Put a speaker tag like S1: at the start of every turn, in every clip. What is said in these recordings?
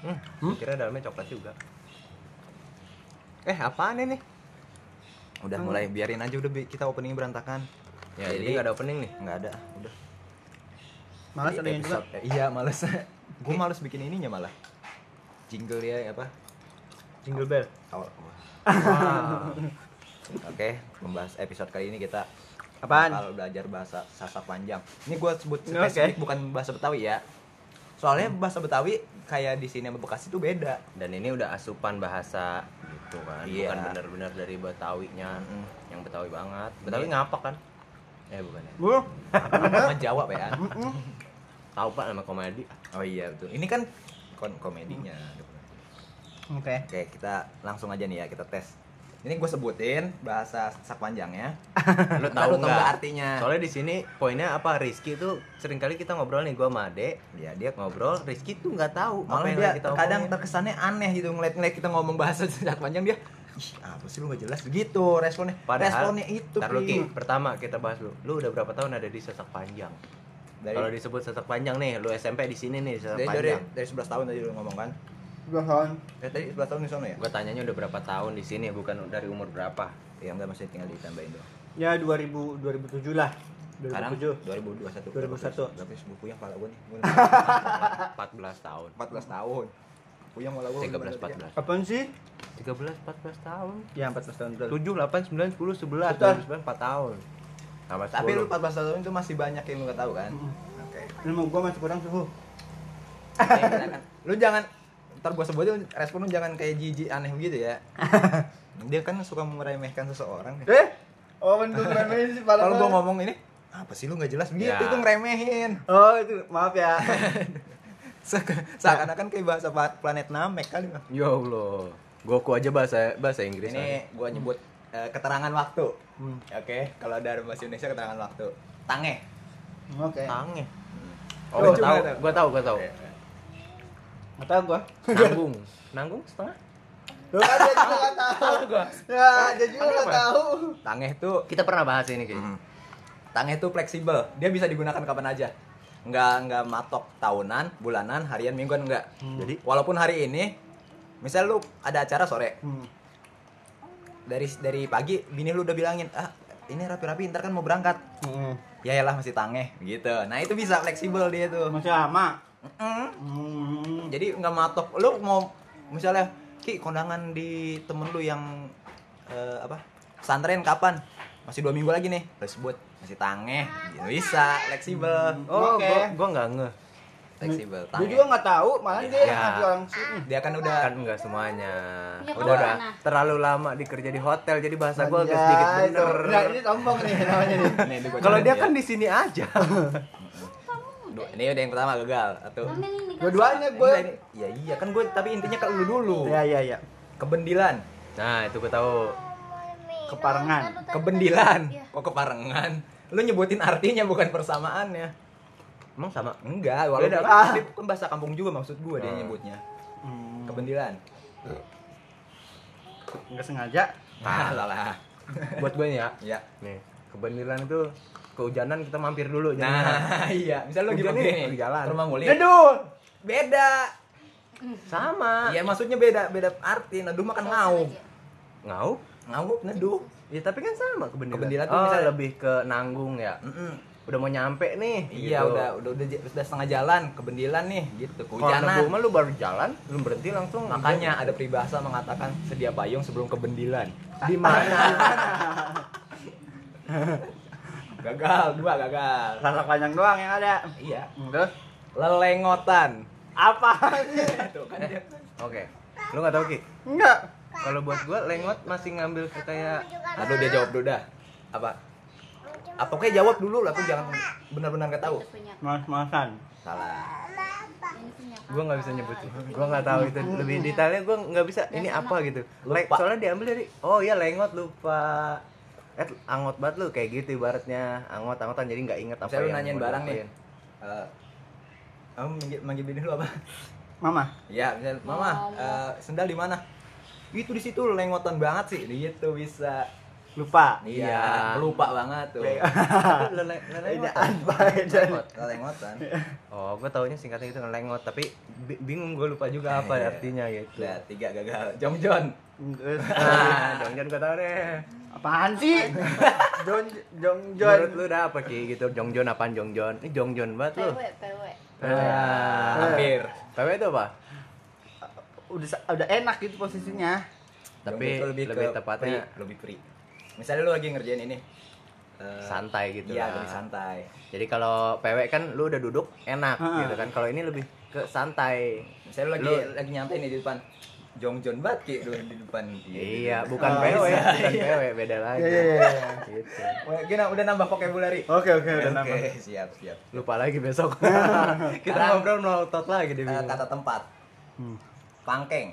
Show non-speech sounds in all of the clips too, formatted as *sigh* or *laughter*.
S1: Hmm? Kira dalamnya coklat juga. Eh, apaan ini?
S2: Udah
S3: Hmm.
S2: mulai biarin aja udah bi- kita opening berantakan.
S1: Ya, jadi nggak ada opening nih.
S2: nggak ada, udah.
S3: Malas
S2: Di
S3: ada yang juga.
S2: episode- eh, iya, males. *laughs* gue males bikin ininya malah. Jingle ya apa?
S1: Jingle bell.
S3: *laughs*
S2: Awal. Oke, membahas episode kali ini kita
S3: Apaan?
S2: bakal belajar bahasa sasa panjang. Ini gue sebut
S3: Oke. Hmm.
S2: spesifik bukan bahasa Betawi ya. Soalnya bahasa Betawi kayak di sini sama Bekasi tuh
S3: *laughs*
S2: beda.
S1: Dan ini udah asupan bahasa gitu kan.
S2: Iya.
S1: Bukan benar-benar dari Betawinya.
S2: Mm.
S1: Yang Betawi banget. Betawi
S2: Iya.
S1: ngapa kan? Eh, bukan ya.
S3: Gue
S2: Sama Jawa ya.
S3: Hmm.
S1: Tahu Pak nama komedi?
S2: Oh iya betul. Ini kan kon komedinya.
S3: Oke.
S2: Oke, kita langsung aja nih ya kita tes. Ini gue sebutin bahasa ya. sak panjangnya.
S1: *laughs* Lu
S2: Ntar
S1: tahu
S2: lu
S1: nggak
S2: artinya?
S1: Soalnya di sini poinnya apa? Rizky tuh seringkali kita ngobrol nih gua sama Ade.
S2: Ya dia
S1: Ngobrol, Rizky tuh nggak tahu
S2: malah
S1: yang
S2: dia
S1: lagi
S2: kadang
S1: omongin.
S2: terkesannya aneh gitu ngeliat-ngeliat kita ngomong bahasa *laughs* sak panjang dia. Ih, apa sih lu gak jelas begitu responnya.
S1: Padahal,
S2: responnya itu.
S1: Ntar lu,
S2: Pi.
S1: Ki. pertama kita bahas lu. Lu udah berapa tahun ada di sesak panjang?
S2: Dari
S1: Kalau disebut sesak panjang nih, lu SMP di sini nih sesak
S2: dari, dari,
S1: panjang.
S2: dari 11 tahun tadi lu ngomong kan.
S3: Dua tahun.
S2: Eh, tadi 11 tahun di sono ya?
S1: Gua tanyanya udah berapa tahun di sini, bukan dari umur berapa.
S2: Iya, enggak masih tinggal ditambahin doang.
S3: Ya 2000 2007 lah.
S2: Sekarang 2021.
S3: 2007. 2021.
S2: Berarti buku yang kepala gue nih. *laughs* Gua
S1: 14 tahun.
S2: 14 tahun. Puyeng malah gue.
S1: 13 14.
S3: Kapan sih?
S1: 13 14 tahun.
S3: Ya 14 tahun
S1: 7
S3: dulu.
S1: 8 9 10 11
S3: Betul.
S1: 12 4 tahun. Tambah
S2: Tapi lu
S1: 10.
S2: 14 tahun itu masih banyak yang lu gak tahu kan? Oke.
S3: Ilmu gue masih kurang suhu.
S2: Oke, silakan. *laughs* Lu jangan ntar gua sebutin respon lu jangan kayak jijik aneh gitu *laughs* ya. Dia kan suka meremehkan seseorang. ya.
S3: Eh? Oh, mendung remehin sih
S2: Kalau gua ngomong ini, apa sih lu nggak jelas gitu
S1: Ya.
S2: itu ngeremehin. *laughs*
S3: Oh, itu maaf *laughs* ya.
S2: Se- Seakan-akan kayak bahasa pa- planet Namek kali Bang.
S1: Ya Allah. Goku aja bahasa bahasa Inggris.
S2: Ini gua nyebut eh, keterangan waktu.
S3: Hmm.
S2: Oke, kalau dari bahasa Indonesia keterangan waktu. Tange.
S3: Oke.
S1: tangeh.
S2: Oh,
S1: Oh, gua
S2: cuma
S1: tahu,
S2: ada.
S1: gua tahu, gua tahu.
S3: Nggak tahu gua.
S1: Nanggung. Nanggung setengah.
S3: Loh, kan dia juga nggak tahu. Ya, dia juga nggak tahu.
S2: Tange tuh
S1: Kita pernah bahas ini, Ki.
S2: Mm. Tangnya itu fleksibel, dia bisa digunakan kapan aja. Nggak nggak matok tahunan, bulanan, harian, mingguan enggak. Jadi walaupun hari ini misal lu ada acara sore,
S3: Hmm.
S2: dari dari pagi bini lu udah bilangin, "Ah, ini rapi-rapi ntar kan mau berangkat."
S3: Hmm.
S2: Ya yalah masih tangeh gitu. Nah, itu bisa fleksibel dia tuh.
S3: Masih lama.
S2: Mm-mm.
S3: Hmm.
S2: Jadi nggak matok. Lu mau misalnya Ki kondangan di temen lu yang eh, apa? Pesantren kapan? Masih dua minggu lagi nih. Terus buat masih tangeh. Gitu. Bisa, fleksibel.
S1: Oh,
S3: Oke.
S1: gua gua enggak ngeh.
S2: Fleksibel,
S3: Dia
S2: tangeh.
S3: juga nggak tahu, malah dia
S1: Ya.
S3: ngasih orang sini.
S2: Dia kan udah
S1: kan enggak semuanya
S4: Ya,
S1: udah
S4: kamu
S1: udah
S4: mana?
S1: terlalu lama dikerja di hotel jadi bahasa gue agak sedikit
S3: Ya, itu.
S1: bener
S3: Nah, ini sombong nih namanya nih.
S2: Nih, ini gua
S1: kalau
S2: cobain
S1: dia
S2: ya.
S1: kan di sini aja
S2: Duh, ini udah yang pertama gagal. Atau
S4: Ambil ini kan.
S3: Dua-duanya gue.
S2: Ya iya kan gue tapi intinya ke lu dulu.
S1: Iya.
S3: Ya, ya, ya.
S2: Kebendilan.
S4: Iya.
S1: nah itu gue tahu
S3: Keparengan.
S2: Kebendilan.
S4: Iya.
S2: Kok keparengan? Lu nyebutin artinya bukan persamaannya.
S1: emang *laughs* sama
S2: Enggak, walaupun
S1: Beda,
S3: Pak.
S2: tapi kan bahasa kampung juga maksud gue dia
S1: Hmm.
S2: nyebutnya.
S3: Hmm.
S2: Kebendilan.
S3: Nggak sengaja.
S1: Hmm.
S2: Ah, salah.
S1: buat gue ya
S2: Ya.
S1: nih kebenaran itu kehujanan kita mampir dulu jangan
S2: Nah, *laughs* iya. Misal lu
S1: Hujan
S2: gimana
S1: nih,
S2: nih?
S1: di jalan.
S2: Ke Rumah Muli.
S3: Jedul.
S2: Beda.
S1: sama
S2: Iya, maksudnya beda, beda arti. Neduh makan ngaup.
S1: ngau
S2: Ngaup neduh.
S1: ya tapi kan sama kebenaran
S2: Kebendilan tuh
S1: oh,
S2: misalnya-
S1: lebih ke nanggung ya
S2: Mm-mm.
S1: udah mau nyampe nih
S2: Iya,
S1: gitu.
S2: udah, udah udah udah setengah jalan, kebendilan nih gitu.
S1: kalau
S2: Kehujanan.
S1: nebu mah lu baru jalan belum berhenti langsung
S2: Makanya ada peribahasa mengatakan sedia payung sebelum kebendilan.
S1: di mana
S2: Gagal, dua gagal.
S3: Rasa panjang doang yang ada. Hmm,
S2: Iya.
S3: Terus
S2: Lelengotan.
S3: apa?
S2: Tuh kan dia.
S1: oke lu nggak tahu ki
S3: Enggak.
S1: kalau buat gue lengot masih ngambil ke kayak
S2: Aduh dia jawab dulu dah. Apa? Apa kayak jawab dulu lah, tuh jangan benar-benar nggak tahu.
S4: Itu punya.
S3: Mas-masan.
S2: Salah.
S4: Ini punya.
S1: gue nggak bisa nyebutin gue nggak tahu itu lebih detailnya gue nggak bisa ini apa gitu Le-
S2: Lupa.
S1: soalnya diambil dari oh iya lengot lupa eh angot banget lu kayak gitu ibaratnya angot angotan jadi nggak inget apa
S2: Saya lu
S1: yang
S2: nanyain
S1: mau
S2: barang nih.
S1: diapain.
S2: Eh, Kamu manggil, manggil bini lu apa?
S3: Mama.
S2: Ya, misal, Mama, eh, sendal di mana? Itu di situ lengotan banget sih. Gitu bisa.
S1: lupa
S2: Iya, lupa banget tuh. *laughs*
S1: Bedaan,
S2: Lengotan.
S1: bedaan.
S2: Lengotan.
S1: Oh, gue taunya singkatnya itu ngelengot, tapi bi- bingung gue lupa
S3: *laughs*
S1: juga apa
S2: Iya.
S1: artinya gitu.
S2: Udah, tiga gagal. Jong Jon.
S3: *laughs* Ah.
S1: Nah, jangan gue tau deh.
S3: Apaan sih? Jong Jong Jong.
S1: Menurut lu udah apa Ki gitu? Jongjon apaan Jongjon? Ini Jongjon banget lu.
S4: PW, PW.
S1: Nah,
S2: Hampir.
S1: PW itu apa?
S3: Udah sa- udah enak gitu posisinya.
S1: Tapi
S2: Jong itu
S1: lebih
S2: ke
S1: tepatnya-
S2: free, lebih free. Misalnya lu lagi ngerjain ini. eh,
S1: Santai gitu
S2: Iya,
S1: lah.
S2: lebih santai.
S1: Jadi kalau PW kan lu udah duduk enak
S3: Ha.
S1: gitu kan. Kalau ini lebih ke santai.
S2: Misalnya lu lagi
S1: Lu-
S2: lagi nyantai nih di depan. Jong Jon banget Ki, lu di depan.
S1: Iya, bukan
S3: Oh,
S1: PW,
S3: iya.
S1: bukan PW, beda lagi.
S3: Iya, iya, iya.
S1: Gitu.
S2: Wah, gini udah nambah vocabulary.
S3: Oke oke udah
S2: Oke,
S3: nambah.
S2: siap, siap.
S1: Lupa lagi
S3: *laughs*
S1: besok. Kita
S2: Sekarang-
S1: ngobrol melotot lagi di
S2: Eh, kata tempat. Pangkeng.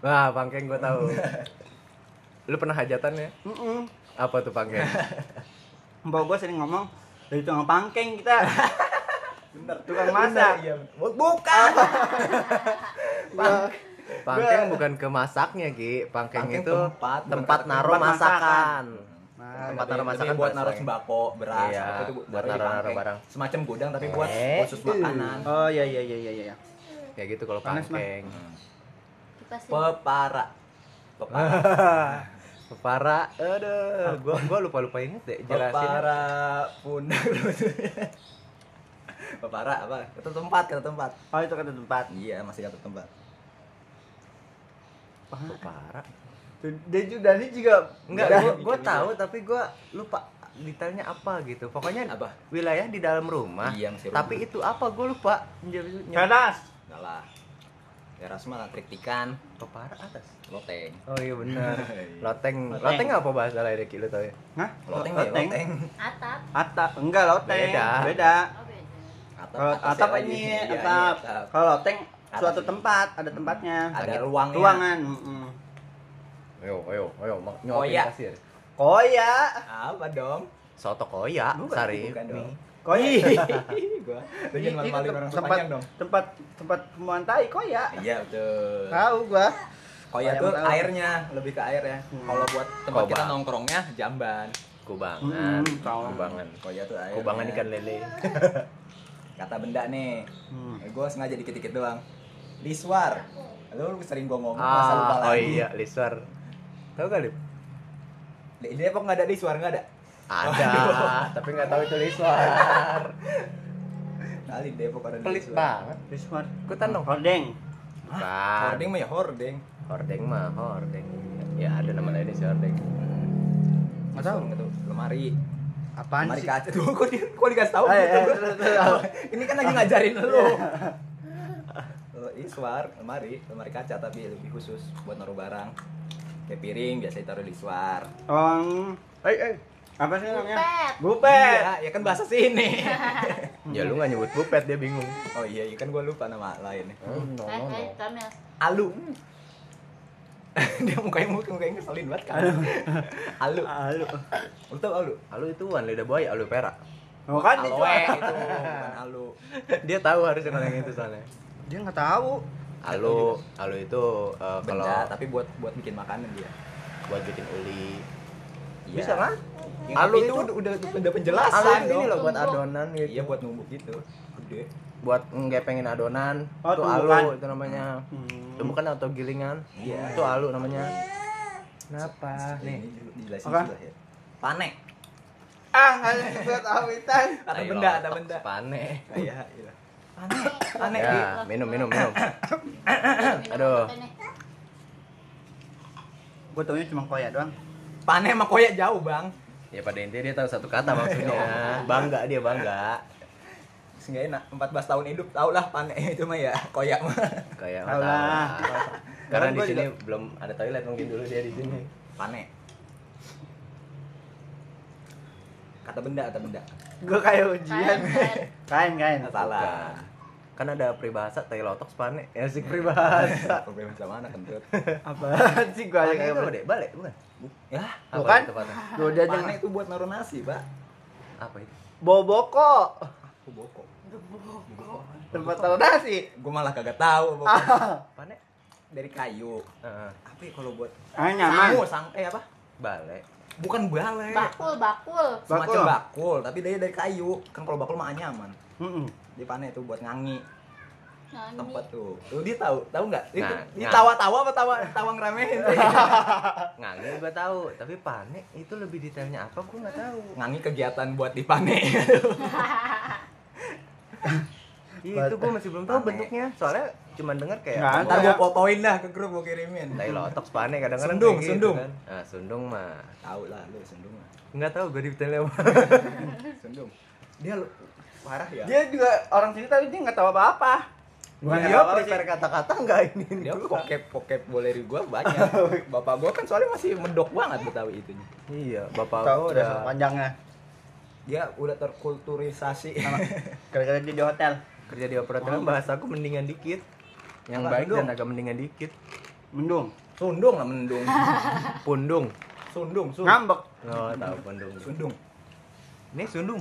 S1: Wah, pangkeng gue tahu.
S3: *laughs*
S1: lu pernah hajatan ya?
S3: Mm-mm.
S1: Apa tuh *laughs* pangkeng?
S3: Mbak gua sering ngomong dari tukang pangkeng *laughs* kita. Tukang masak.
S2: Iya. Bu- Bukan.
S1: Pangkeng bukan ke masaknya, Ki. Pangkeng,
S2: Pangkeng
S1: itu
S2: tempat,
S1: tempat,
S2: bukan kata-
S1: naruh
S3: tempat
S1: masakan.
S3: masakan.
S1: Nah, tempat
S2: Tapi-
S1: naruh
S2: tapi
S1: masakan
S2: buat
S1: pasti.
S2: naruh sembako, beras,
S1: Iya,
S2: apa itu, Bu,
S1: buat
S2: taruh di
S1: naruh-naruh
S2: pangkeng.
S1: barang.
S2: Semacam gudang tapi buat
S1: Eh.
S2: khusus makanan.
S3: Oh iya iya iya iya iya.
S1: Kayak gitu kalau
S3: Panas,
S1: pangkeng.
S4: Kipas ini.
S2: Pepara. Pepara.
S1: Pepara, aduh, gua gua lupa-lupa inget deh jelasin.
S2: Pepara pundak. *laughs* Pepara apa? Kata tempat, kata tempat.
S3: Oh itu kata tempat.
S2: Iya, masih kata tempat.
S1: Pepara.
S3: Tuh, Dia juga Dani juga Gitu,
S1: Enggak,
S3: udah.
S1: gua, gua tahu tapi gua lupa detailnya apa gitu. Pokoknya
S2: Apa?
S1: wilayah di dalam rumah.
S2: Iya, masih rumah.
S1: tapi itu apa gua lupa. Nyebut- nyebut-
S3: Ganas.
S2: Enggak lah. Ya, Teras mah triktikan,
S1: Pepara atas.
S2: loteng.
S1: Oh iya *laughs* benar. Loteng.
S3: Loteng.
S1: Loteng apa bahasa lain Ki lu tahu ya?
S3: Hah?
S2: *laughs* Loteng, ya, loteng.
S4: Atap.
S3: Atap enggak loteng.
S1: Beda.
S3: Beda.
S4: Oh, beda.
S2: Atap,
S3: Kalau
S2: atasnya
S3: atap
S2: lagi.
S3: ini
S2: Iya, iya,
S3: atap. Kalau loteng
S2: Atap.
S3: suatu tempat ada tempatnya.
S2: Ada ruangnya.
S3: Ruangan. mm-mm.
S1: Ayo, ayo, ayo, mak-
S2: Koya.
S1: nyuapin kasir.
S3: Koya.
S2: Apa dong?
S1: Soto koya,
S2: Bukan,
S1: sari.
S2: bukan dong. *laughs*
S3: Koya.
S2: gua lagi
S3: Itu
S2: malu orang
S3: tempat
S2: sepanjang dong
S3: *laughs* tempat tempat pemuantai koya.
S2: iya betul
S3: Tahu gua.
S2: koya
S3: Koya Hmm.
S2: tuh
S3: tahu.
S2: airnya lebih ke air ya kalau buat tempat
S1: Koba.
S2: kita nongkrongnya jamban
S1: Kubangan,
S3: Mm, kawan.
S1: kubangan.
S2: koya tuh air
S1: Kubangan ikan *laughs* lele.
S2: kata benda nih
S3: Hmm.
S2: gue sengaja dikit dikit doang liswar lu sering gua ngomong masa lupa
S1: Ah, oh
S2: lagi
S1: iya, liswar. Tahu kali?
S2: di di Depok nggak ada liswar nggak ada
S1: Ada, *laughs* tapi nggak tahu itu liswar.
S2: kali di Depok ada
S1: Pelit banget.
S3: Bismar.
S1: Ikutan dong.
S3: Hordeng.
S1: Bukan.
S2: hordeng mah ya hordeng
S1: Hordeng mah, hordeng. Ya ada nama lainnya sih hordeng.
S3: Nggak tahu.
S2: Liswar gitu lemari
S3: Apaan
S2: lemari
S3: sih?
S2: kaca tuh kok di kok dikasih tahu
S3: Eh,
S2: gitu
S3: eh, Iya.
S2: gua.
S3: terus, terus.
S2: *laughs* ini kan lagi ngajarin lu Lu iswar lemari lemari kaca tapi lebih khusus buat naruh barang kayak piring biasa ditaruh di iswar
S3: Om. Eh, eh. Apa sih namanya?
S4: Bupet.
S3: Bupet.
S2: Iya, ya kan bahasa sini *laughs*
S1: Ya lu nggak nyebut bupet dia bingung.
S2: oh iya iya kan gue lupa nama lainnya
S1: Hmm,
S3: Hmm.
S1: no,
S4: Eh, eh, Kamil.
S2: alu *laughs* dia mukanya mukanya mukanya ngeselin banget kan *laughs* alu
S3: Halo.
S2: lu tau alu
S1: Alu itu wan lidah buaya, alu perak. *laughs*
S3: Oh kan dia
S2: aloe
S3: cuma-
S2: itu bukan alu
S1: Dia tahu harusnya kalau yang itu *laughs* soalnya.
S3: Dia nggak tahu.
S1: Alu, alu itu eh, kalau
S2: benda tapi buat buat bikin makanan dia
S1: buat bikin uli.
S2: Iya.
S1: Bisa kan?
S2: Ya,
S1: Alu
S2: tapi
S1: itu-
S2: udah udah, udah penjelasan
S1: Alu itu
S2: dong.
S1: ini loh buat adonan gitu.
S2: Iya buat numbuk gitu. Gede.
S1: buat ngepengin adonan
S3: Oh,
S1: itu
S3: tumbukan.
S1: alu itu namanya
S3: Hmm.
S1: tumbukan atau gilingan
S2: Iya.
S1: itu alu namanya kenapa
S2: Ini
S1: nih
S2: dijelasin
S3: Apa?
S2: sudah ya. Pane.
S3: Ah, nggak buat awitan.
S2: Kata benda, kata benda.
S1: pane
S2: Iya, iya. Pane, pane. Di.
S1: ya minum minum minum
S4: Minum
S1: Aduh.
S4: makannya.
S3: Gua taunya cuma koya doang.
S2: Pane sama koya jauh, Bang.
S1: ya pada intinya dia tahu satu kata *laughs* maksudnya Oh, bangga dia bangga
S2: Seenggaknya enak 14 tahun hidup tau lah pane *laughs* itu mah ya, koya mah.
S3: Tahu
S1: kayak nggak
S3: lah.
S1: tahu lah. karena
S3: Karena
S1: di
S3: gua
S1: sini belum ada toilet mungkin dulu dia di sini
S2: Pane. Kata benda, kata benda.
S3: Gua kayak ujian.
S4: Kain,
S3: *laughs* Kain, kain.
S2: Nggak salah.
S1: kan ada peribahasa tai lotok pane ya sih peribahasa
S2: *laughs* Problem sama mana kentut.
S3: Apa sih gua aja
S1: pane itu
S3: kayak
S1: apa deh balik bukan
S2: Ya,
S1: apa
S3: Bukan.
S1: itu pane?
S3: Gua udah aja
S2: pane itu buat naruh nasi, Pak.
S1: apa itu
S3: Boboko.
S2: Aku bokok.
S3: Tempat taruh *laughs* nasi.
S2: Gue malah kagak tahu bokok.
S3: Ah,
S1: pane
S2: dari kayu.
S1: Eh,
S2: Apa ya kalau buat
S3: nyaman.
S2: Sangu, sang eh apa?
S1: balik
S2: bukan balai
S4: Bakul, bakul.
S2: semacam
S3: Bakul.
S2: bakul tapi dia dari kayu kan kalau bakul mah anyaman
S3: Mm-mm.
S2: dia panen tuh buat ngangi
S4: Nani. *laughs*
S2: tempat tuh tuh dia tahu tahu nggak dia,
S1: Nah,
S2: dia
S1: nah.
S2: tawa-tawa apa tawa tawa ngeremehin
S1: Ngangi gua tahu, tapi panik itu lebih detailnya apa gua nggak tahu.
S2: ngangi kegiatan buat dipanen
S1: Iya, itu gua masih belum tahu
S2: Panik.
S1: bentuknya. Soalnya cuman denger kayak
S3: Nggak
S2: ntar
S1: Ntar
S2: gua fotoin dah ke grup gua kirimin
S1: Tai lotok panik kadang-kadang
S2: Sundung,
S1: kayak
S2: sundung.
S1: kan. Nah, sundung mah.
S2: tahu lah lu sendung lah.
S1: Enggak tahu gua detailnya apa.
S2: sendung dia lu parah ya
S3: Dia juga orang sini tapi dia nggak tahu apa-apa. Bukan
S1: Dia
S3: nggak apa-apa sih.
S1: prepare kata-kata enggak ini.
S2: dia pokep pokep boleri gua banyak bapak gua kan soalnya masih mendok banget betawi itunya
S1: Iya, bapak
S3: Tahu
S1: gua
S3: udah
S1: udah
S3: panjangnya.
S2: dia udah terkulturisasi
S3: Gara-gara dia di hotel.
S1: kerja di operator bahasa aku mendingan dikit. Yang
S2: Apa,
S1: baik dan
S2: sundung?
S1: agak mendingan dikit.
S3: Mendung.
S2: *laughs* sundung lah mendung
S1: Pundung.
S2: sundung sun
S3: Ngambek.
S1: Oh, tahu pundung.
S2: sundung
S1: Ini sundung.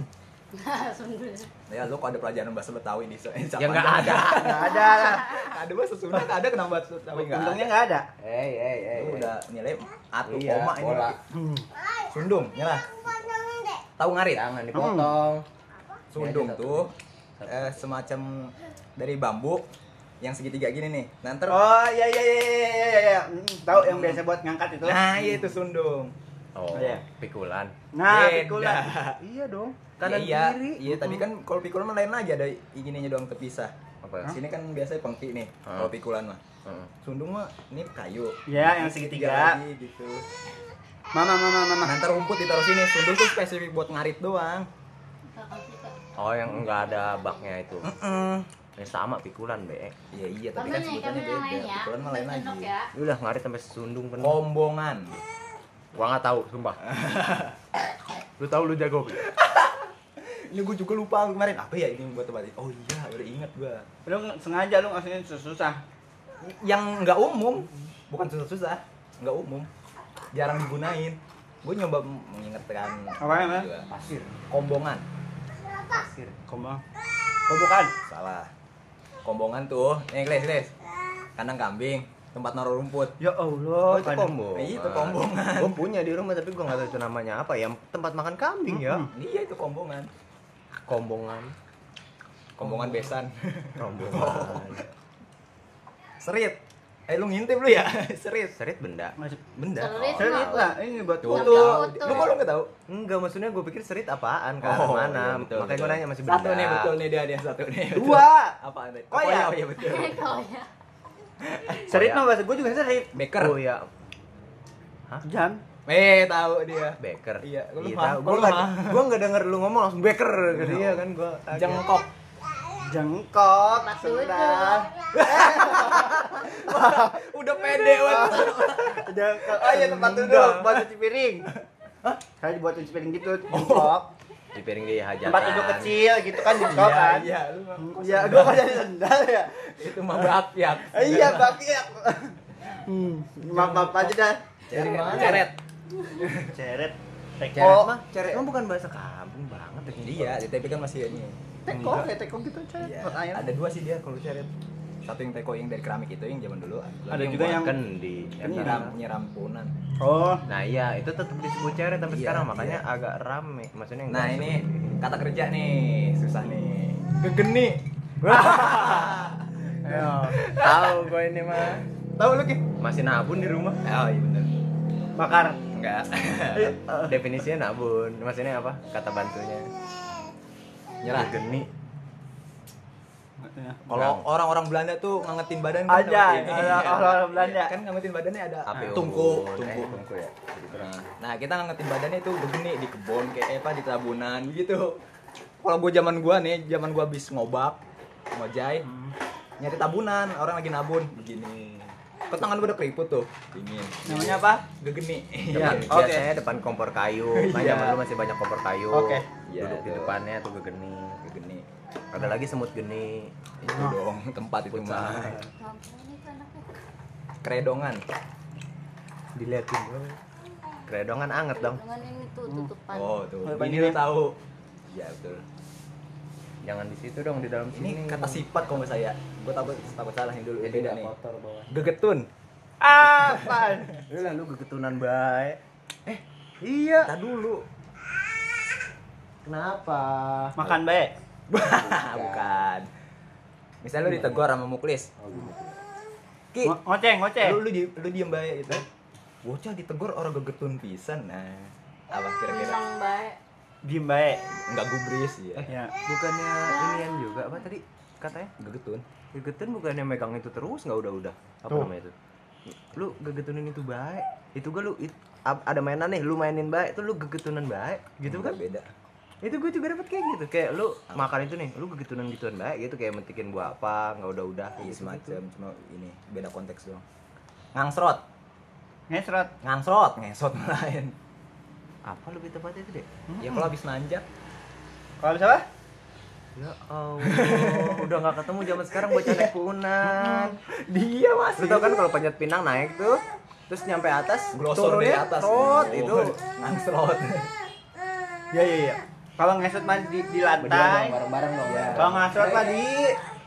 S4: Sundul.
S2: ya lu kalau ada pelajaran bahasa betawi di *laughs*
S1: Ya enggak ada.
S3: Ah, Nggak ada. lah.
S2: ada bahasa sunda nggak ada kenapa bahasa betawi nggak ada
S3: Untungnya nggak ada.
S1: Hei, hei, hei.
S2: Lu udah nilai atu
S1: Iya,
S2: koma ini
S1: bola.
S3: Hmm.
S2: sundung ya nyala tahu ngarit
S1: Jangan dipotong.
S2: sundung
S1: Ini aja satu.
S2: tuh eh, semacam dari bambu yang segitiga gini nih Nah, nanti
S3: Oh iya iya iya iya iya iya, iya. Hmm, Tahu yang biasa buat ngangkat itu?
S2: nah iya itu sundung
S1: Oh,
S3: Iya.
S1: pikulan.
S3: Nah,
S2: Beda.
S3: pikulan.
S1: Iya dong.
S3: Ya
S2: Kanan
S1: Kanan
S2: iya,
S1: kiri.
S2: Iya, tadi kan kalau pikulan mah lain aja ada ininya doang terpisah.
S1: apa? Hmm.
S2: Sini kan biasanya pengki nih,
S1: Ah.
S2: kalau pikulan mah.
S1: Heeh.
S2: Sundung mah ini kayu.
S3: Ya,
S2: Ini
S3: yang segitiga.
S2: lagi gitu.
S3: Mama mama mama.
S2: Nah, ntar rumput ditaruh sini. Sundung tuh spesifik buat ngarit doang.
S1: Oh, yang enggak ada baknya itu.
S2: Heeh.
S1: Ini Eh, sama pikulan, Be.
S2: Iya, iya, tapi kan
S4: Kamu nih, kamu
S2: sebutannya
S4: yang
S2: beda.
S4: lain ya.
S2: Pikulan mah lain
S4: Sundul
S2: lagi.
S4: ya.
S1: Lu udah ngarit sampai sundung penuh.
S2: Kombongan.
S1: Gua enggak tahu,
S2: *laughs*
S1: sumpah. lu tahu lu jago, Bi.
S2: Ini gue juga lupa kemarin apa ya ini buat tempat ini. Oh iya, udah ingat gua.
S3: Lu sengaja lu ngasihin susah.
S2: Yang nggak umum, bukan susah-susah, nggak umum, jarang digunain. Gue nyoba mengingatkan
S3: Apa ya?
S2: gua.
S3: Pasir.
S2: kombongan
S3: Pasir. Kombang. Oh bukan.
S2: salah kombongan tuh nih les les kandang kambing tempat naruh rumput
S3: Ya
S1: Oh,
S3: Allah.
S1: itu kombo.
S2: Iya, itu kombongan.
S1: Gua punya di rumah tapi gua enggak tahu itu namanya apa ya. Tempat makan kambing ya.
S2: iya itu kombongan
S1: Kombongan.
S2: kombongan besan *laughs*
S1: Kombongan.
S2: serit eh lu ngintip lu ya *laughs* serit
S1: Serit benda. Oh.
S3: Masih.
S2: benda
S4: Serit.
S3: Saya lihat lah, ini buat
S2: Tuh.
S3: foto.
S4: Foto.
S2: lu kok
S4: *laughs*
S2: lu nggak tahu
S1: Enggak, maksudnya gua pikir serit apaan, ke arah
S2: Oh, iya,
S1: mana.
S2: betul,
S1: Makanya gua
S2: betul.
S1: nanya masih benda.
S2: satu nih betul nih dia dia satu nih betul.
S3: Dua.
S2: apa ada
S3: Koyak.
S2: oh iya betul
S4: Kalau ya.
S3: Serit
S1: Koyak.
S3: mah bahasa gue juga serit.
S2: beker
S1: Oh iya,
S3: Jam.
S2: eh tahu dia
S1: Baker.
S2: Iya, lu
S1: Iya,
S2: mah-
S1: tahu. Gua
S2: lu Iya,
S1: enggak
S2: mah.
S1: gua enggak denger lu ngomong langsung baker gitu ya kan gua.
S2: jengkok
S3: Jengkot.
S4: Tempat duduk.
S3: Sudah.
S2: udah pede banget
S3: Jengkot.
S2: Oh, iya, tempat duduk.
S3: buat cuci piring. Saya buat cuci piring gitu, jengkot.
S1: Di piring di hajatan.
S3: Tempat duduk kecil gitu kan jengkot
S2: iya
S3: kan.
S2: iya lu mah kok
S3: Ya, gue kok jadi sendal ya?
S2: itu mah ya. berakyat
S3: Eh, Iya, Pak. Iya. Hmm, maaf maaf aja dah.
S2: dari mana ceret
S3: Ceret.
S1: Ceret
S3: Teko.
S1: mah, ceret mah bukan bahasa kampung banget ya.
S2: Oh, iya di TP kan masih ini
S3: Teko, kayak teko gitu ceret.
S2: Iya.
S3: Buat ayam.
S2: Ada dua sih dia kalau ceret. Satu yang teko yang dari keramik itu yang zaman dulu.
S3: Ada
S2: yang
S3: juga
S2: buat
S3: yang-
S1: Kendi. ya kan?
S2: nyiram nyiram punan.
S3: Oh,
S1: Nah iya, itu tetap disebut ceret sampai
S2: Iya,
S1: sekarang
S2: iya.
S1: makanya agak rame. Maksudnya
S2: Nah
S1: enggak
S2: ini
S1: disebut.
S2: *laughs* kata kerja nih susah nih. Kegeni.
S1: Iya.
S3: ayo.
S1: tahu gue ini mah.
S2: Tahu lu ki?
S1: Masih nabun di rumah.
S2: *laughs* Oh iya bener.
S3: Bakar.
S2: Enggak.
S3: Eh.
S1: Definisinya nabun. Maksudnya apa? Kata bantunya.
S2: Nyerah.
S1: Geni.
S2: Kalau orang-orang Belanda tuh ngangetin badan kan
S3: Ada,
S2: lewat ini.
S3: ada orang-orang Belanda. ya? Oh,
S2: Kan ngangetin badannya ada
S1: Api
S2: tungku,
S1: unggun.
S2: tungku.
S1: Eh, tungku ya.
S2: Nah, kita ngangetin badannya itu begini di kebun kayak eh, apa di tabunan gitu. Kalau gue zaman gua nih, zaman gua habis ngobak, ngojai,
S3: Hmm.
S2: nyari tabunan, orang lagi nabun begini. Ke tangan gua udah keriput tuh, dingin.
S3: Namanya apa?
S2: Gegeni.
S1: Iya,
S3: Iya, oke.
S1: biasanya depan kompor
S2: *laughs*
S1: kayu. Kan
S2: Iya.
S1: zaman dulu masih banyak kompor kayu.
S3: Oke.
S2: Iya,
S1: Duduk di
S2: tuh.
S1: depannya tuh gegeni.
S2: Gegeni.
S1: Ada lagi semut geni.
S3: Oh.
S2: Itu dong tempat itu mah.
S4: Ampun, itu anaknya.
S2: Kredongan.
S1: Dilihatin dong. Kredongan anget dong.
S4: Dengan ini tuh tutupan.
S2: Oh, tuh.
S3: Apa
S2: Ini
S3: ini?
S2: lu tahu. Iya, betul.
S1: Jangan di situ dong di dalam sini.
S2: Ini kata sifat kalau nggak saya. Gua takut takut salah yang dulu. Beda nih.
S3: bawah.
S2: Gegetun.
S3: Apaan?
S1: Lah lu gegetunan bae. Eh, Iya.
S2: Kita dulu.
S1: Kenapa?
S3: Makan baik.
S2: *laughs* Bukan. Misalnya lu ditegur sama Muklis. Ki,
S3: Ngo- Ngoceng, ngoceng.
S2: lu lu, di- lu diem bae gitu. Bocah ditegur orang gegetun pisan nah. Apa kira-kira?
S4: Bilang baik.
S3: Diem baik.
S2: Enggak gubris ya.
S3: Ya.
S1: Bukannya inian juga apa tadi katanya?
S2: Gegetun.
S1: Gegetun bukannya megang itu terus nggak udah-udah. Apa
S2: Tuh.
S1: namanya itu? Lu gegetunin itu baik. Itu gue lu it- ab- ada mainan nih, lu mainin baik, itu lu gegetunan baik, gitu kan?
S2: beda.
S1: Itu gue juga dapet kayak gitu, kayak lu makan itu nih, lu gegetunan gituan baik, gitu kayak mentikin buah apa, nggak udah-udah,
S2: Iya
S1: gitu.
S2: semacam cuma ini beda konteks doang. Ngangsrot,
S3: Ngesrot.
S2: ngangsrot, ngesot *laughs* lain.
S1: Apa lebih tepatnya itu deh?
S2: Ya kalau habis nanjak,
S3: Kalau bisa apa?
S1: Ya Allah, udah nggak ketemu zaman sekarang bocah naik *laughs* punan.
S2: dia
S1: Lu tau kan kalau panjat pinang naik tuh, terus nyampe atas,
S2: glosor dari
S3: ya?
S1: turunnya
S2: atas.
S1: trot,
S2: Oh,
S1: itu.
S2: ngangsrot.
S3: Iya, iya, iya. Kalau ngesrot mah di, di lantai.
S1: bareng-bareng dong. ya.
S3: Kalau ngesrot mah di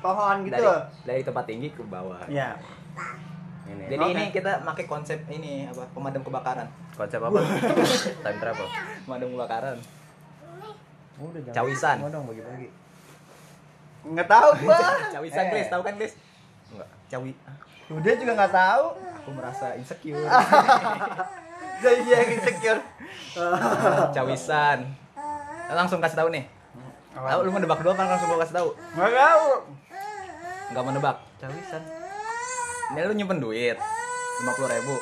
S3: pohon
S2: *laughs*
S3: gitu.
S2: Dari dari tempat tinggi ke bawah.
S3: Ya.
S1: Ini.
S2: Jadi
S3: Oke.
S2: ini kita pakai konsep ini apa pemadam kebakaran, *laughs*
S1: Konsep *laughs* apa? Time travel.
S2: pemadam kebakaran.
S3: Oh,
S1: Udah
S2: jangan. Cawisan. Mau
S1: dong bagi-bagi.
S3: Nggak tahu gua.
S2: Cawisan,
S1: Eh.
S2: Chris, tahu kan, Chris?
S1: Enggak.
S2: Cawi.
S3: Udah juga nggak tahu.
S2: Aku merasa insecure.
S3: *laughs* Jadi dia yang insecure.
S2: *laughs* Cawisan. Langsung kasih tahu nih. Tahu lu mau nebak dulu kan langsung gua kasih tahu.
S3: Nggak tahu.
S2: Enggak mau nebak.
S1: Cawisan.
S2: Ini lu nyimpen duit 50 ribu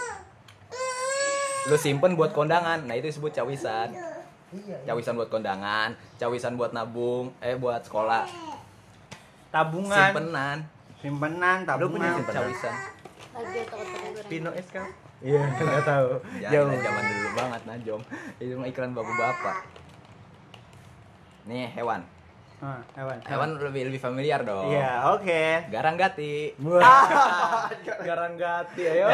S2: Lu simpen buat kondangan Nah itu disebut cawisan Cawisan buat kondangan Cawisan buat nabung Eh buat sekolah
S3: Tabungan.
S2: Simpenan
S3: Simpenan,
S1: Lu punya
S3: tabungan.
S1: simpenan?
S2: Cawisan
S4: Lagi takut kedengeran.
S1: Pino S kan?
S3: Iya, nggak tahu.
S2: Jauh zaman dulu banget Najom Itu mah iklan bapak-bapak Nih hewan
S3: Ah, hewan.
S2: Hewan lebih lebih familiar dong
S3: Iya, oke.
S2: Garang gati *laughs*
S3: Garang gati, ayo.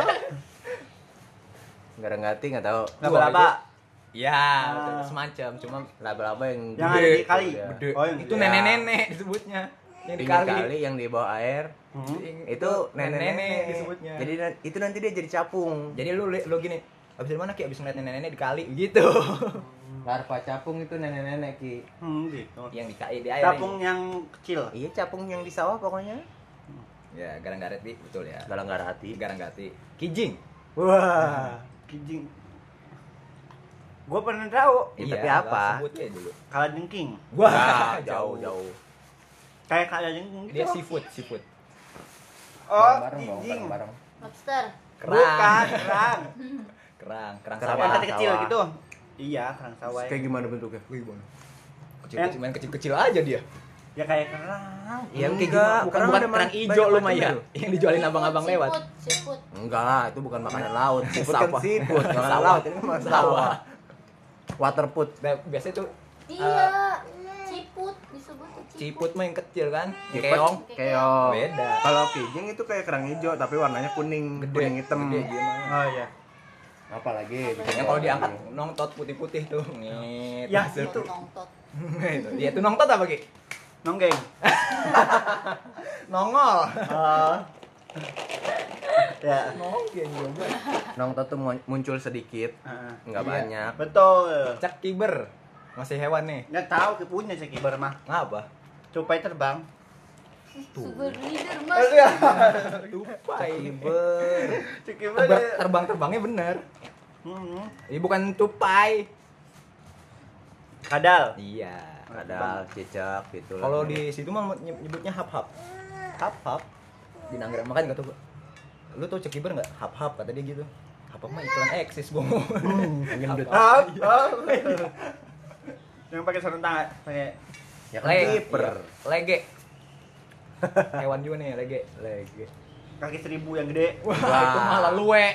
S1: Enggak ngerti enggak tahu.
S3: Laba-laba.
S2: Ya
S3: Ah.
S2: betul, semacam Cuma
S1: Laba-laba
S3: Yang
S1: yang gede
S3: ada di
S1: tuh,
S3: kali.
S1: ya.
S3: Gede.
S2: Oh,
S3: Oh, yang
S2: itu
S3: gede.
S2: nenek-nenek disebutnya. Yang
S1: Pinggir
S2: dikali.
S1: kali yang di bawah air.
S3: Hmm.
S1: Itu nenek-nenek
S2: disebutnya.
S1: Jadi
S2: Jadi
S1: nan- itu nanti dia jadi capung.
S2: jadi lu lu gini, abis dari mana Ki? Abis ngeliat nenek-nenek dikali
S1: *laughs*
S2: gitu.
S1: Larva capung itu nenek-nenek Ki.
S3: Hmm, gitu.
S2: yang dikali di air.
S3: Tabung yang kecil.
S1: Iya capung yang di sawah pokoknya.
S2: Ya, garang garet Bi. betul ya.
S1: Dalam nggak hati.
S2: Garang gati. Kijing.
S3: Wah, kijing. Gue pernah tahu
S1: Ya, tapi apa?
S2: gua Iya, Sebut ya dulu.
S3: kala jengking.
S1: Wah, jauh jauh.
S3: Kayak kala jengking.
S2: Dia
S3: tuh.
S2: seafood, seafood.
S3: Oh,
S1: Bareng-bareng dong,
S3: kijing.
S1: bareng-bareng.
S4: Lobster.
S3: Bukan, kerang.
S2: Kerang, kerang
S1: Kerang.
S3: yang
S2: sawah.
S3: kecil-kecil
S1: sawah.
S3: gitu. Iya, kerang sawah.
S1: Kayak gimana bentuknya?
S2: Wih, Bang. Kecil-kecil, main kecil-kecil aja dia.
S3: Ya kayak kerang.
S1: Iya,
S2: Yang
S1: kayak
S2: gimana?
S1: gimana?
S2: Bukan,
S1: Kerang
S2: bukan
S1: ada
S2: kerang
S1: banyak gitu.
S2: hijau lu
S1: macamnya
S2: Maya.
S1: loh.
S2: Yang dijualin abang-abang lewat.
S4: Siput, siput.
S1: Enggak lah, itu bukan makanan laut. Siput kan
S2: Sawah.
S1: siput, makanan
S2: Sawah.
S1: laut. Ini makanan sawah.
S2: Sawah.
S1: Waterput.
S2: Nah, biasanya tuh
S4: Iya. Ciput disebut tuh
S2: ciput mah yang Oh. kecil kan?
S1: Iya, Keong, keong.
S2: Beda.
S1: Kalau kijing itu kayak kerang hijau tapi warnanya kuning,
S2: Gede.
S1: kuning hitam.
S2: Gede dia mah.
S3: Oh iya.
S1: Apalagi
S2: Yang kalau diangkat nongtot putih-putih tuh. Ngit.
S3: Ya,
S2: Masuk. *laughs*
S3: itu.
S4: Nongtot.
S2: Itu. Dia tuh nongtot apa, Ki?
S3: Nonggeng.
S2: Nongol.
S3: Oh. ya.
S2: Nonggeng juga.
S1: nongtot tuh mon- muncul sedikit,
S3: Heeh.
S1: nggak
S2: Iya.
S1: banyak.
S3: Ah, Betul.
S2: Cak kiber. Masih hewan nih.
S3: Nggak tahu ke punya sih kibar mah.
S2: Ngapa?
S3: Cupai terbang.
S4: Sugar leader, Mas.
S3: Iya.
S2: Tupai.
S1: Ber.
S3: Cukibar.
S2: Terbang- Terbang-terbangnya bener.
S3: Hmm.
S2: Ini bukan tupai.
S3: Kadal.
S2: Iya.
S1: Kadal, cicak gitu.
S2: Kalau di situ mah nyebutnya hap-hap. Hap-hap. Di kan Nanggrek makan enggak tuh, Lu tuh cek kiber enggak? Hap-hap kata dia gitu. Hap-hap mah iklan eksis, Bung. Hap-hap.
S3: Ah, ah. Yang pakai sarung tangan, pakai
S1: ya kan
S2: Le-
S1: kiper.
S2: iya.
S1: *laughs*
S2: Lege. Hewan juga nih, lege.
S1: Lagi.
S3: kaki seribu yang gede.
S2: Wah,
S1: Wah.
S2: itu malah luwe.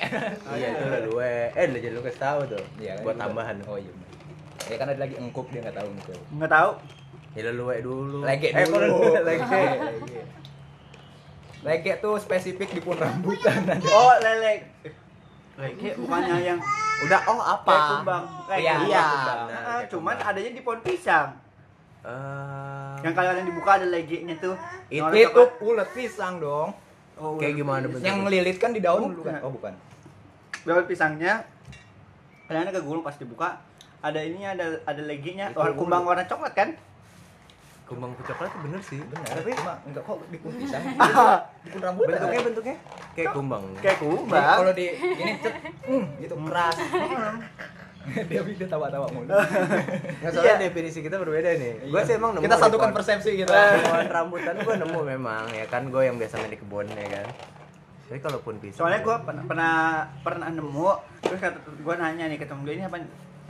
S1: Iya itu lelue. Eh, lu jadi lu kasih tahu tuh.
S2: Iya,
S1: Buat
S2: itu.
S1: tambahan.
S2: Oh iya. bener. Ya kan ada lagi engkup dia nggak tahu engkup.
S3: Nggak tahu.
S1: Ya lelue dulu.
S2: Lege
S1: Eh, kok *laughs*
S2: dulu.
S1: lelue? lege.
S2: Lege. Lege tuh spesifik di pun rambutan ada.
S3: Oh, lelek. Lelek bukannya yang
S1: Udah oh apa?
S3: kayak kumbang. Kayak
S2: Iya,
S3: kumbang.
S1: iya.
S3: Ah,
S1: Benar, kayak
S3: cuman
S1: kumbang.
S3: adanya di pohon pisang.
S1: Eh,
S3: Yang kalian dibuka ada legeknya tuh.
S1: Itu-
S3: Orang
S2: Itu
S3: coklat.
S2: Nah, ulet pisang dong.
S3: Oh,
S1: kayak
S3: ular
S1: gimana
S3: pisang.
S1: bentuknya?
S2: Yang ngelilit kan di daun dulu
S3: Bukan.
S2: kan. Oh bukan.
S3: Daun pisangnya kadang-kadang kegulung pas dibuka ada ininya ada ada leginya
S1: Itu
S3: warna
S1: dulu.
S3: kumbang warna coklat kan
S1: Kumbang coklat itu bener sih.
S2: benar
S1: Tapi
S2: cuma enggak kok dipun
S1: *laughs*
S2: pisah dipun rambut
S1: bentuknya bentuknya kayak kumbang.
S3: kayak kumbang
S2: kalau di ini cet hmm, gitu
S1: *laughs*
S2: keras dia dia tawa-tawa mulu
S1: Nggak Nah, soalnya
S3: Iya.
S1: definisi kita berbeda nih. Gue sih emang nemu Nah.
S2: kita
S1: di
S2: satukan
S1: pohon-
S2: persepsi gitu
S1: *laughs* pohon rambutan gue nemu memang ya kan gue yang biasa main di kebun ya kan. Tapi kalaupun pisang.
S3: soalnya gue pernah pernah pernah nemu terus kata gue nanya nih ketemu dia ini apa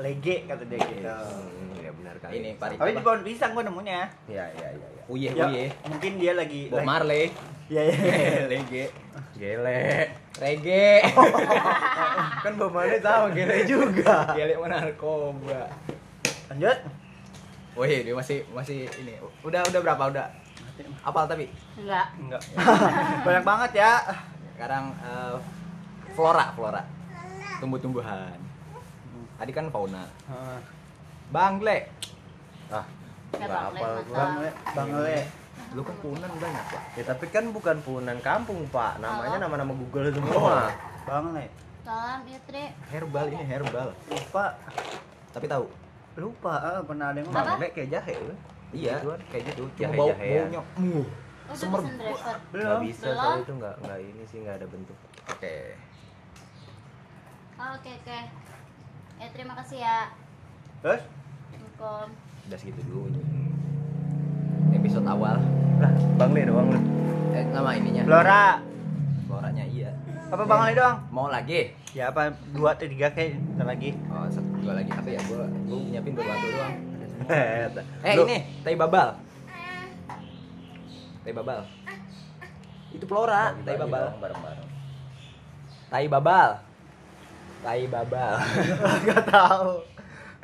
S3: lege kata dia gitu
S1: Hmm, ya benar kali.
S2: ini pari
S3: tapi di pohon pisang gue nemunya
S1: Ya ya ya ya.
S2: uyeh
S3: ya,
S2: uyeh
S3: mungkin dia lagi
S2: Bob
S3: lagi-
S1: *laughs*
S2: Marley
S3: Iya, iya.
S2: lege
S1: Gele.
S2: *laughs* reggae
S1: Kan bapaknya tahu gele juga.
S2: gele mau narkoba
S3: lanjut
S2: Wih, dia masih masih ini. Udah udah berapa udah? Apal tapi
S4: Enggak.
S3: enggak banyak banget ya
S2: sekarang eh, flora flora tumbuh-tumbuhan. Tadi kan fauna.
S3: Ah,
S2: Bangle,
S1: Ah.
S4: Ya,
S1: nggak
S4: Bang Le,
S1: apal
S4: masa.
S1: gua.
S3: bang le bang le
S2: lu kan punan banyak pak.
S1: Ya tapi kan bukan punan kampung pak, namanya
S4: Oh.
S1: nama-nama Google semua.
S3: bang le
S4: Salam Itri.
S2: Herbal ini herbal.
S3: lupa
S2: Tapi tahu.
S3: lupa ah, pernah ada yang
S4: Apa?
S1: Bang Le kayak jahe lu.
S2: Iya.
S1: Gituan, kayak gitu.
S2: Cuma bau
S1: Jahe-jahean.
S2: baunya. Uh.
S4: Oh, udah
S2: Semer-
S4: pesen driver.
S1: Nggak
S3: belum
S1: bisa
S4: Belum.
S1: soalnya itu nggak nggak ini sih nggak ada bentuk.
S2: Oke.
S4: Oh, Oke, oke. Ya, terima kasih ya.
S3: terus
S4: Assalamualaikum.
S2: Udah segitu dulu ini. Episode awal.
S1: Lah, Bang Le doang lu.
S2: Eh, nama ininya.
S3: Flora
S2: Floranya iya.
S3: apa bang le doang
S2: Mau lagi?
S3: ya apa dua atau tiga kayak ntar lagi
S2: Oh, satu dua lagi. Tapi ya gua gua nyiapin dua batu doang. Eh
S1: Lu,
S2: ini, tai babal. Tai babal. Itu flora, tai
S1: bagi-bagi
S2: babal.
S1: dong bareng-bareng.
S2: Tai babal. Tai babal.
S3: nggak tahu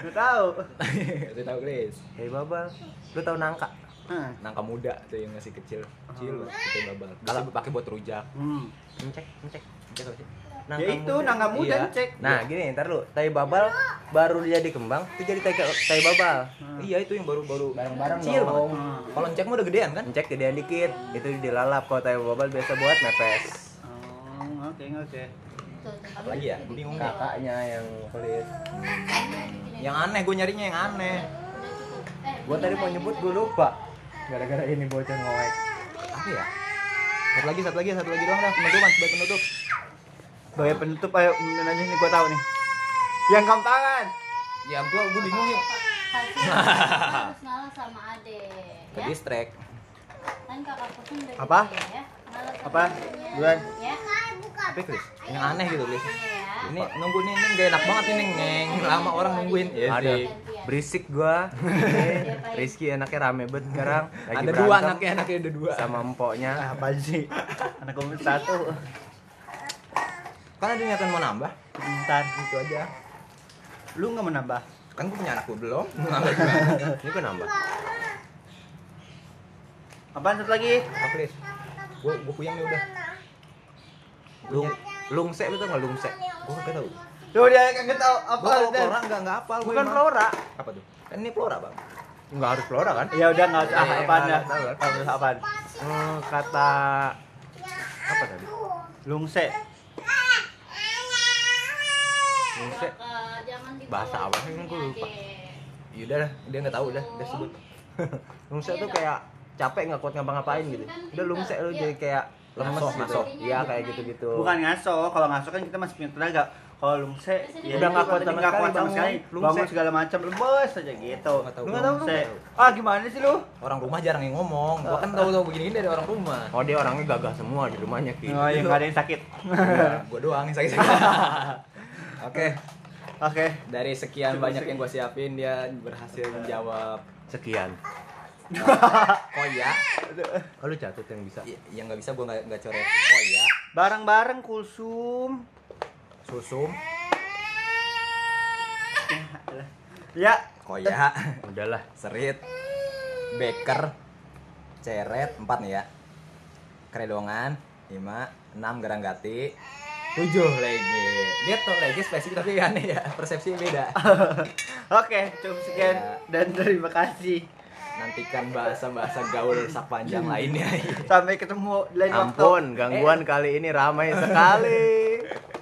S3: nggak tahu
S2: *laughs* Itu tahu Chris.
S1: Hei babal, lu tahu nangka?
S3: Hmm.
S2: Nangka muda tuh yang masih kecil. Kecil, tai babal. Oh. Kalau pakai buat rujak.
S3: hmm.
S1: Ngecek, ngecek.
S2: Itu apa sih?
S1: Nangka
S3: ya itu
S1: muda.
S3: nangka muda
S2: Iya.
S3: cek
S1: Nah, gini ntar lu, tai babal baru jadi kembang, itu jadi tai, tai babal.
S2: Iya, itu yang baru-baru
S1: Bareng-bareng
S2: kecil
S1: dong.
S3: Oh,
S1: Iya.
S2: banget. Kalau cek mah udah gedean kan?
S1: Ngecek gedean dikit, itu dilalap kalau tai babal biasa buat mepes.
S3: oh, oke oke
S4: Tuh, tuh.
S2: Apalagi ya? Bingung nggak?
S1: Kakaknya yang pelit.
S2: Yang aneh, gue nyarinya yang aneh.
S4: Udah cukup. Eh,
S1: Gua tadi mau nyebut gua lupa. Gara-gara ini bocah ngowek.
S2: Apa ya? Satu lagi, satu lagi, satu lagi doang dah. Penutupan, sebagai penutup.
S3: sebagai penutup ayo minum aja nih gua tahu nih yang kampangan
S2: Ya, gue gue bingung ya.
S4: Hasil harus ngalah sama Ade.
S2: Ke
S4: Ya.
S2: distract.
S4: Kan kakak pesen udah
S3: Apa?
S4: gede ya. Ngalah sama
S3: Apa?
S4: adenya.
S3: Buruan.
S4: Ya.
S2: Tapi Chris, yang aneh gitu Chris.
S4: Iya.
S2: Ini nunggu nih, ini gak enak banget ini neng. Lama orang nungguin. Iya
S1: Ada
S2: sih.
S1: berisik gua. Eh, Rizky anaknya rame banget sekarang. Lagi
S2: Ada dua
S1: berantem
S2: anaknya, anaknya ada dua.
S1: sama empoknya.
S3: ah, apa sih anak gua satu
S2: Kan ada niatan mau nambah.
S3: ntar
S2: Itu aja.
S3: gitu lu nggak menambah
S2: Kan gue punya anak gue belum. Nambah juga.
S1: Ini gua nambah.
S3: apaan satu lagi
S2: Apa Chris? Gue gue puyeng nih udah.
S1: Lung lungsek lu tau nggak lungsek?
S2: Gue gak tau.
S3: tuh dia kagak tahu
S2: Gue
S3: apa
S2: kalau
S3: Dan.
S2: flora nggak nggak hafal. gua
S3: bukan
S2: emang.
S3: flora
S2: Apa tuh? Kan ini flora bang.
S1: Nggak harus flora kan?
S3: ya udah nggak usah
S1: Iya, iya,
S3: apaan ya
S1: nggak tahu.
S3: Nggak usah apaan
S1: Eh, kata apa tadi?
S3: lungse
S1: Lungsek.
S4: Kakak, jangan dibawa
S1: Bahasa apa sih?
S4: ini,
S1: Gua lupa.
S4: Ade.
S2: Iya udah lah. Dia nggak tahu udah. Udah sebut.
S1: Lungsek tuh kayak capek nggak kuat ngapa-ngapain gitu. Udah lungsek lu jadi kayak lemes
S2: Masuk,
S1: gitu.
S2: masuk.
S1: Iya kayak gitu-gitu.
S3: bukan ngaso kalau ngaso kan kita masih punya tenaga kalau lungse ya
S1: Udah nggak
S3: itu
S1: kuat
S3: tadi
S1: sama
S3: nggak
S1: sekali
S3: kuat sama
S1: bangun.
S3: sekali
S1: Lungse.
S3: bangun segala macam lemes aja gitu
S2: Nggak tahu.
S3: lu nggak tahu
S2: Lungse.
S3: lungse ah gimana sih lu
S2: Orang rumah jarang yang ngomong. Gue kan tahu-tahu begini dari orang *laughs* rumah.
S1: Oh dia orangnya gagah semua di rumahnya gitu.
S3: oh yang nggak ada yang sakit
S2: gue Iya, doang yang sakit sakit *laughs* oke
S3: oke
S2: dari sekian banyak yang gue siapin dia berhasil menjawab
S1: Sekian.
S2: oh iya
S1: Oh, lu catat yang bisa.
S3: Iya.
S2: Y- yang nggak bisa gue nggak nggak coret oh iya
S3: bareng-bareng kulsum
S2: susum
S3: ya
S2: koya
S1: Udahlah.
S2: "Oh iya." *laughs* serit beker ceret empat nih ya keredongan lima enam garanggati tujuh lagi dia tuh lagi spesifik tapi aneh ya persepsi beda
S3: oke cukup sekian dan terima kasih
S2: nantikan bahasa-bahasa gaul sepanjang lainnya
S3: Eh, sampai ketemu di lain waktu
S1: Ampun, gangguan kali ini ramai sekali.